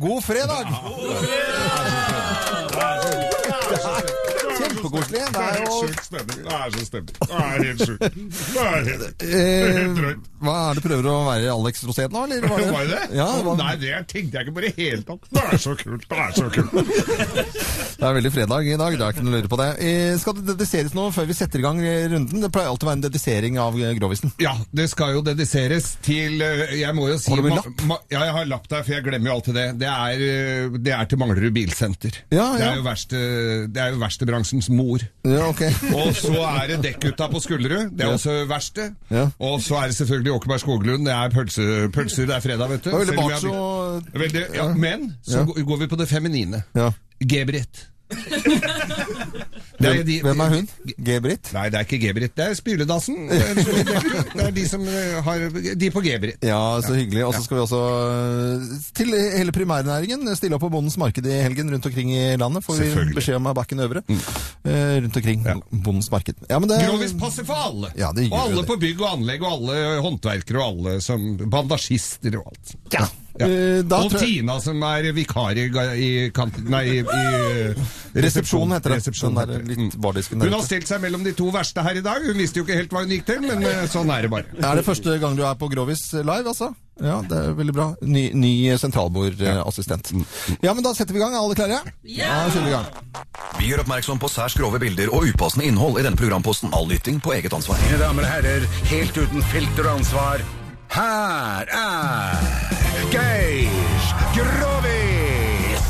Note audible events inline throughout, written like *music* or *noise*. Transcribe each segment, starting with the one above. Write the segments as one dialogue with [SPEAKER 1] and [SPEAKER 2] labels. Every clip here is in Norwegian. [SPEAKER 1] god fredag! Kjempekoselig. Det er jo
[SPEAKER 2] helt sjuk stemning. Det er så stemning. Det er helt sjukt. Det er helt, helt
[SPEAKER 1] eh,
[SPEAKER 2] drøyt.
[SPEAKER 1] Hva er det prøver å være Alex Rosén nå, eller?
[SPEAKER 2] Var det det?
[SPEAKER 1] Ja, det,
[SPEAKER 2] Nei,
[SPEAKER 1] var,
[SPEAKER 2] det tenkte jeg ikke på i det hele tatt. Det er så kult! Det er så kult!
[SPEAKER 1] det er veldig fredag i dag, det er ikke noe å lure på det. Eh, skal det dediseres noe før vi setter i gang eh, runden? Det pleier alltid å være en dedisering av eh, Grovisen.
[SPEAKER 2] Ja, det skal jo dediseres til eh, Jeg må jo si
[SPEAKER 1] Har du med
[SPEAKER 2] ma-
[SPEAKER 1] lapp?
[SPEAKER 2] ma- Ja, jeg har lapp der, for jeg glemmer jo alltid det. Det er, eh, det er til Manglerud Bilsenter.
[SPEAKER 1] Ja,
[SPEAKER 2] Det
[SPEAKER 1] ja.
[SPEAKER 2] er jo verste, det er jo verkstedbransjens mor.
[SPEAKER 1] Ja, ok.
[SPEAKER 2] *laughs* Og så er det dekkgutta på Skullerud. Det er også verste.
[SPEAKER 1] Ja.
[SPEAKER 2] Og så er det selvfølgelig Åkerberg Skoglund. Det er pølse, pølser, det er fredag, vet du.
[SPEAKER 1] Det var veldig
[SPEAKER 2] Selv om jeg
[SPEAKER 1] macho.
[SPEAKER 2] har- Veldig, ja. Men så
[SPEAKER 1] Ja.
[SPEAKER 2] går- går vi på det feminine.
[SPEAKER 1] Ja.
[SPEAKER 2] Gebrit.
[SPEAKER 1] Hvem, hvem er hun? G-Britt?
[SPEAKER 2] Nei, det er ikke Gebrit. Det er Spyledassen. Det er
[SPEAKER 1] *laughs*
[SPEAKER 2] så- det er de som eh, har De på Gebrit.
[SPEAKER 1] Ja, så hyggelig. Og så skal vi også øh, til hele primærnæringen. Stille opp på Bondens Marked i helgen rundt omkring i landet. Får vi
[SPEAKER 2] Selvfølgelig. Mm.
[SPEAKER 1] beskjed om av Bakken Øvre. Eh, Rundt omkring Bondens Marked. Ja, men det
[SPEAKER 2] Grovis passer for alle.
[SPEAKER 1] Ja, det gjør
[SPEAKER 2] og alle
[SPEAKER 1] det.
[SPEAKER 2] på bygg og anlegg, og alle håndverkere og alle som Bandasjister og alt. Ja.
[SPEAKER 1] Eh, da
[SPEAKER 2] og
[SPEAKER 1] tror jeg-
[SPEAKER 2] Tina som er vikar i, ga- i, kant, nei, i, i
[SPEAKER 1] *laughs* Resepsjonen heter det.
[SPEAKER 2] Resepsjon
[SPEAKER 1] Den der
[SPEAKER 2] heter det. Mm.
[SPEAKER 1] litt bardisken der
[SPEAKER 2] Hun har
[SPEAKER 1] ute.
[SPEAKER 2] stilt seg mellom de to verste her i dag. Hun visste jo ikke helt hva hun gikk til, men eh, sånn er det bare.
[SPEAKER 1] Er det første gang du er på Grovis live, altså? Ja, det er veldig bra. Ny, ny sentralbordassistent.
[SPEAKER 2] Mm.
[SPEAKER 1] Ja, men da setter vi i gang. Er alle klare? Ja! Da kjører vi i gang.
[SPEAKER 3] Vi gjør oppmerksom på særs grove bilder og upassende innhold i denne programposten. All lytting på eget ansvar.
[SPEAKER 4] Mine damer og herrer, helt uten filter og ansvar, her er Geir Grovis!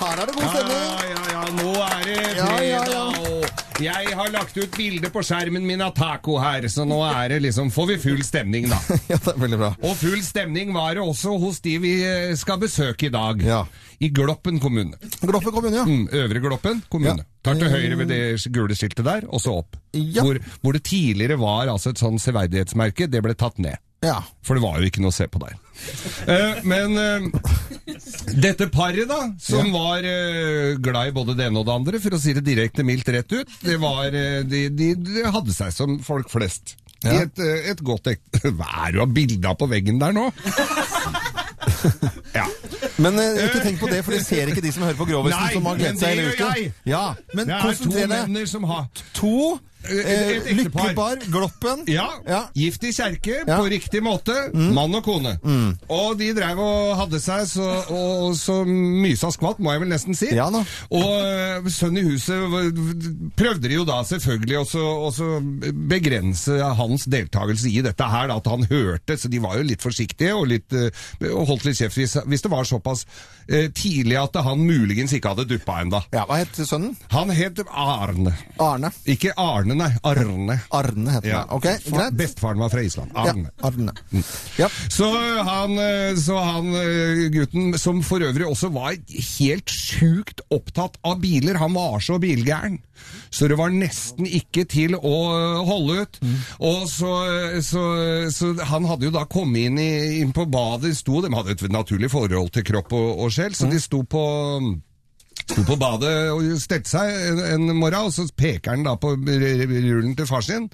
[SPEAKER 1] Her er det god
[SPEAKER 2] Ja,
[SPEAKER 1] stemning.
[SPEAKER 2] ja, ja, nå er det
[SPEAKER 1] Ja,
[SPEAKER 2] fredag.
[SPEAKER 1] ja, ja.
[SPEAKER 2] og Jeg har lagt ut bilde på skjermen min av taco her, så nå er det liksom Får vi full stemning, da.
[SPEAKER 1] Ja, det er veldig bra.
[SPEAKER 2] Og full stemning var det også hos de vi eh, skal besøke i dag.
[SPEAKER 1] Ja.
[SPEAKER 2] I Gloppen kommune.
[SPEAKER 1] Gloppen kommune, ja.
[SPEAKER 2] Mm, Øvre Gloppen kommune.
[SPEAKER 1] Ja.
[SPEAKER 2] Tar til høyre ved det gule skiltet der, og så opp.
[SPEAKER 1] Ja.
[SPEAKER 2] Hvor, hvor det tidligere var altså et sånn severdighetsmerke, det ble tatt ned.
[SPEAKER 1] Ja.
[SPEAKER 2] For det var jo ikke noe å se på der. Eh, men eh, dette paret, da, som var eh, glad i både det ene og det andre, for å si det direkte mildt rett ut, det var, eh, de, de, de hadde seg som folk flest. I
[SPEAKER 1] Ja.
[SPEAKER 2] et, eh, et godt ekte *laughs* Hva er det du har bilder av på veggen der nå? *laughs* ja.
[SPEAKER 1] Men eh, ikke tenk på det, for de ser ikke de som hører på Grovisen,
[SPEAKER 2] Nei,
[SPEAKER 1] som har
[SPEAKER 2] men
[SPEAKER 1] gledet seg
[SPEAKER 2] det
[SPEAKER 1] hele
[SPEAKER 2] gjør jeg.
[SPEAKER 1] uken. Ja, men
[SPEAKER 2] Det er to
[SPEAKER 1] konsentrer deg.
[SPEAKER 2] menner som har
[SPEAKER 1] To. Eh,
[SPEAKER 2] Et ektepar.
[SPEAKER 1] Lykkebar, Gloppen.
[SPEAKER 2] Ja,
[SPEAKER 1] Ja.
[SPEAKER 2] gift i kjerke
[SPEAKER 1] Ja. Mm.
[SPEAKER 2] på riktig måte, mann og kone. Og de drev og hadde seg så, og, så mysa skvatt, må jeg vel nesten si.
[SPEAKER 1] Ja da.
[SPEAKER 2] Og eh, sønn i huset v- prøvde de jo da selvfølgelig også, også begrense hans deltakelse i dette her, da, at han hørte, så de var jo litt forsiktige og, litt, eh, og holdt litt kjeft hvis, hvis det var såpass eh, tidlig at han muligens ikke hadde duppa ennå.
[SPEAKER 1] Ja, hva het sønnen?
[SPEAKER 2] Han het Arne.
[SPEAKER 1] Arne.
[SPEAKER 2] Ikke Arne, nei. Arne.
[SPEAKER 1] Arne heter
[SPEAKER 2] Ja.
[SPEAKER 1] han. Ok,
[SPEAKER 2] Fa-
[SPEAKER 1] greit.
[SPEAKER 2] Bestefaren var fra Island.
[SPEAKER 1] Ja,
[SPEAKER 2] Arne. Mm.
[SPEAKER 1] Arne. Ja.
[SPEAKER 2] Så han, eh, så han eh, gutten, som for øvrig også var helt sjukt opptatt av biler, han var så bilgæren, så det var nesten ikke til å eh, holde ut.
[SPEAKER 1] Mm.
[SPEAKER 2] Og så, så, så han hadde jo da kommet inn, i, inn på badet, sto, de hadde et naturlig forhold til kropp og, og sjel, så
[SPEAKER 1] Mm.
[SPEAKER 2] de sto på mm, Sto på badet og stelte seg en, en morgen, og så peker han da på r- r- rullen til far sin.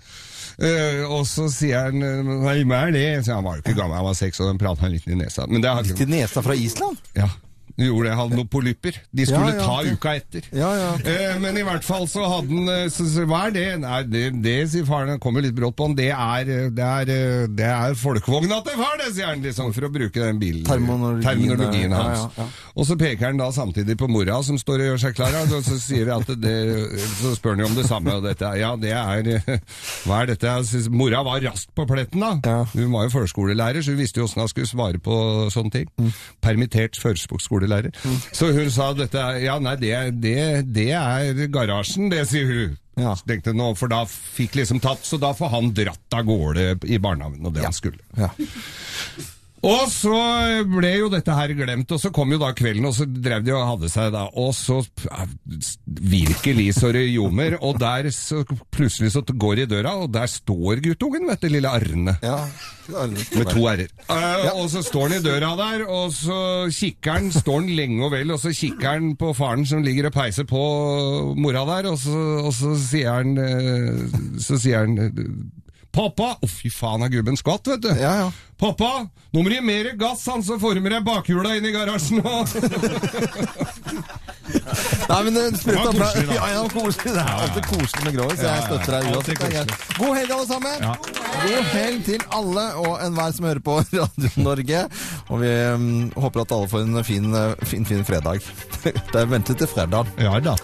[SPEAKER 2] Eh, og så sier han eh, 'Hva er det?' Så han var jo ikke gammel, han var seks, og den pratet han litt i nesa. Men det har
[SPEAKER 1] Til nesa fra Island?
[SPEAKER 2] ja, de gjorde det. Han hadde noen polypper. De skulle
[SPEAKER 1] Ja, ja,
[SPEAKER 2] ta
[SPEAKER 1] ok.
[SPEAKER 2] uka etter.
[SPEAKER 1] Ja, ja, ok.
[SPEAKER 2] Eh, men i hvert fall så hadde han eh, så, så, Hva er det? Nei, det, det sier faren. Han kommer litt brått på han. Det er, eh, det er, eh, det er folkevogna til far, det, sier han, liksom, for å bruke den bilen.
[SPEAKER 1] Terminologien,
[SPEAKER 2] terminologien
[SPEAKER 1] ja,
[SPEAKER 2] hans.
[SPEAKER 1] ja, ja.
[SPEAKER 2] Og så peker han da samtidig på mora som står og gjør seg klar, og så sier vi at det, så spør han jo om det samme. Og dette, er- ja, det er Hva er dette? Jeg synes, mora var raskt på pletten, da.
[SPEAKER 1] Ja.
[SPEAKER 2] Hun var jo førskolelærer, så hun visste jo åssen hun skulle svare på sånne ting.
[SPEAKER 1] Mm.
[SPEAKER 2] Permittert førskolelærer. Så hun sa dette er- Ja, nei, det, er- det, det er garasjen, det, sier hun.
[SPEAKER 1] Ja.
[SPEAKER 2] Så tenkte jeg nå, for da fikk liksom tatt, så da får han dratt av gårde i barnehagen og det han skulle.
[SPEAKER 1] Ja.
[SPEAKER 2] Og så ble jo dette her glemt, og så kom jo da kvelden, og så drev de og hadde seg da, og så ja, virkelig så det ljomer, og der så plutselig så går de i døra, og der står guttungen, vet du, lille Arne.
[SPEAKER 1] ja. Arne.
[SPEAKER 2] Med to r-er. Eh, Og så står han i døra der, og så kikker han, står han lenge og vel, og så kikker han på faren som ligger og peiser på mora der, og så, og så sier han eh, Så sier han eh, Pappa! Å, fy faen, er gubben skvatt, vet du.
[SPEAKER 1] Ja, ja.
[SPEAKER 2] Pappa, nå må du gi mer gass, han, så former jeg bakhjula inn i garasjen. Og...
[SPEAKER 1] Nei, men eh, sprøtt
[SPEAKER 2] Det var
[SPEAKER 1] og bra.
[SPEAKER 2] koselig, da.
[SPEAKER 1] Ja, ja, koselig. Det er alltid koselig med grovis. Jeg støtter deg uansett.
[SPEAKER 2] Alltid
[SPEAKER 1] det er greit. God helg, alle sammen. God helg til alle og enhver som hører på *laughs* Radio Norge. Og vi *laughs* mm, håper at alle får en fin, eh, fin, fin fredag. Det er ventet til fredag.
[SPEAKER 2] Ja da.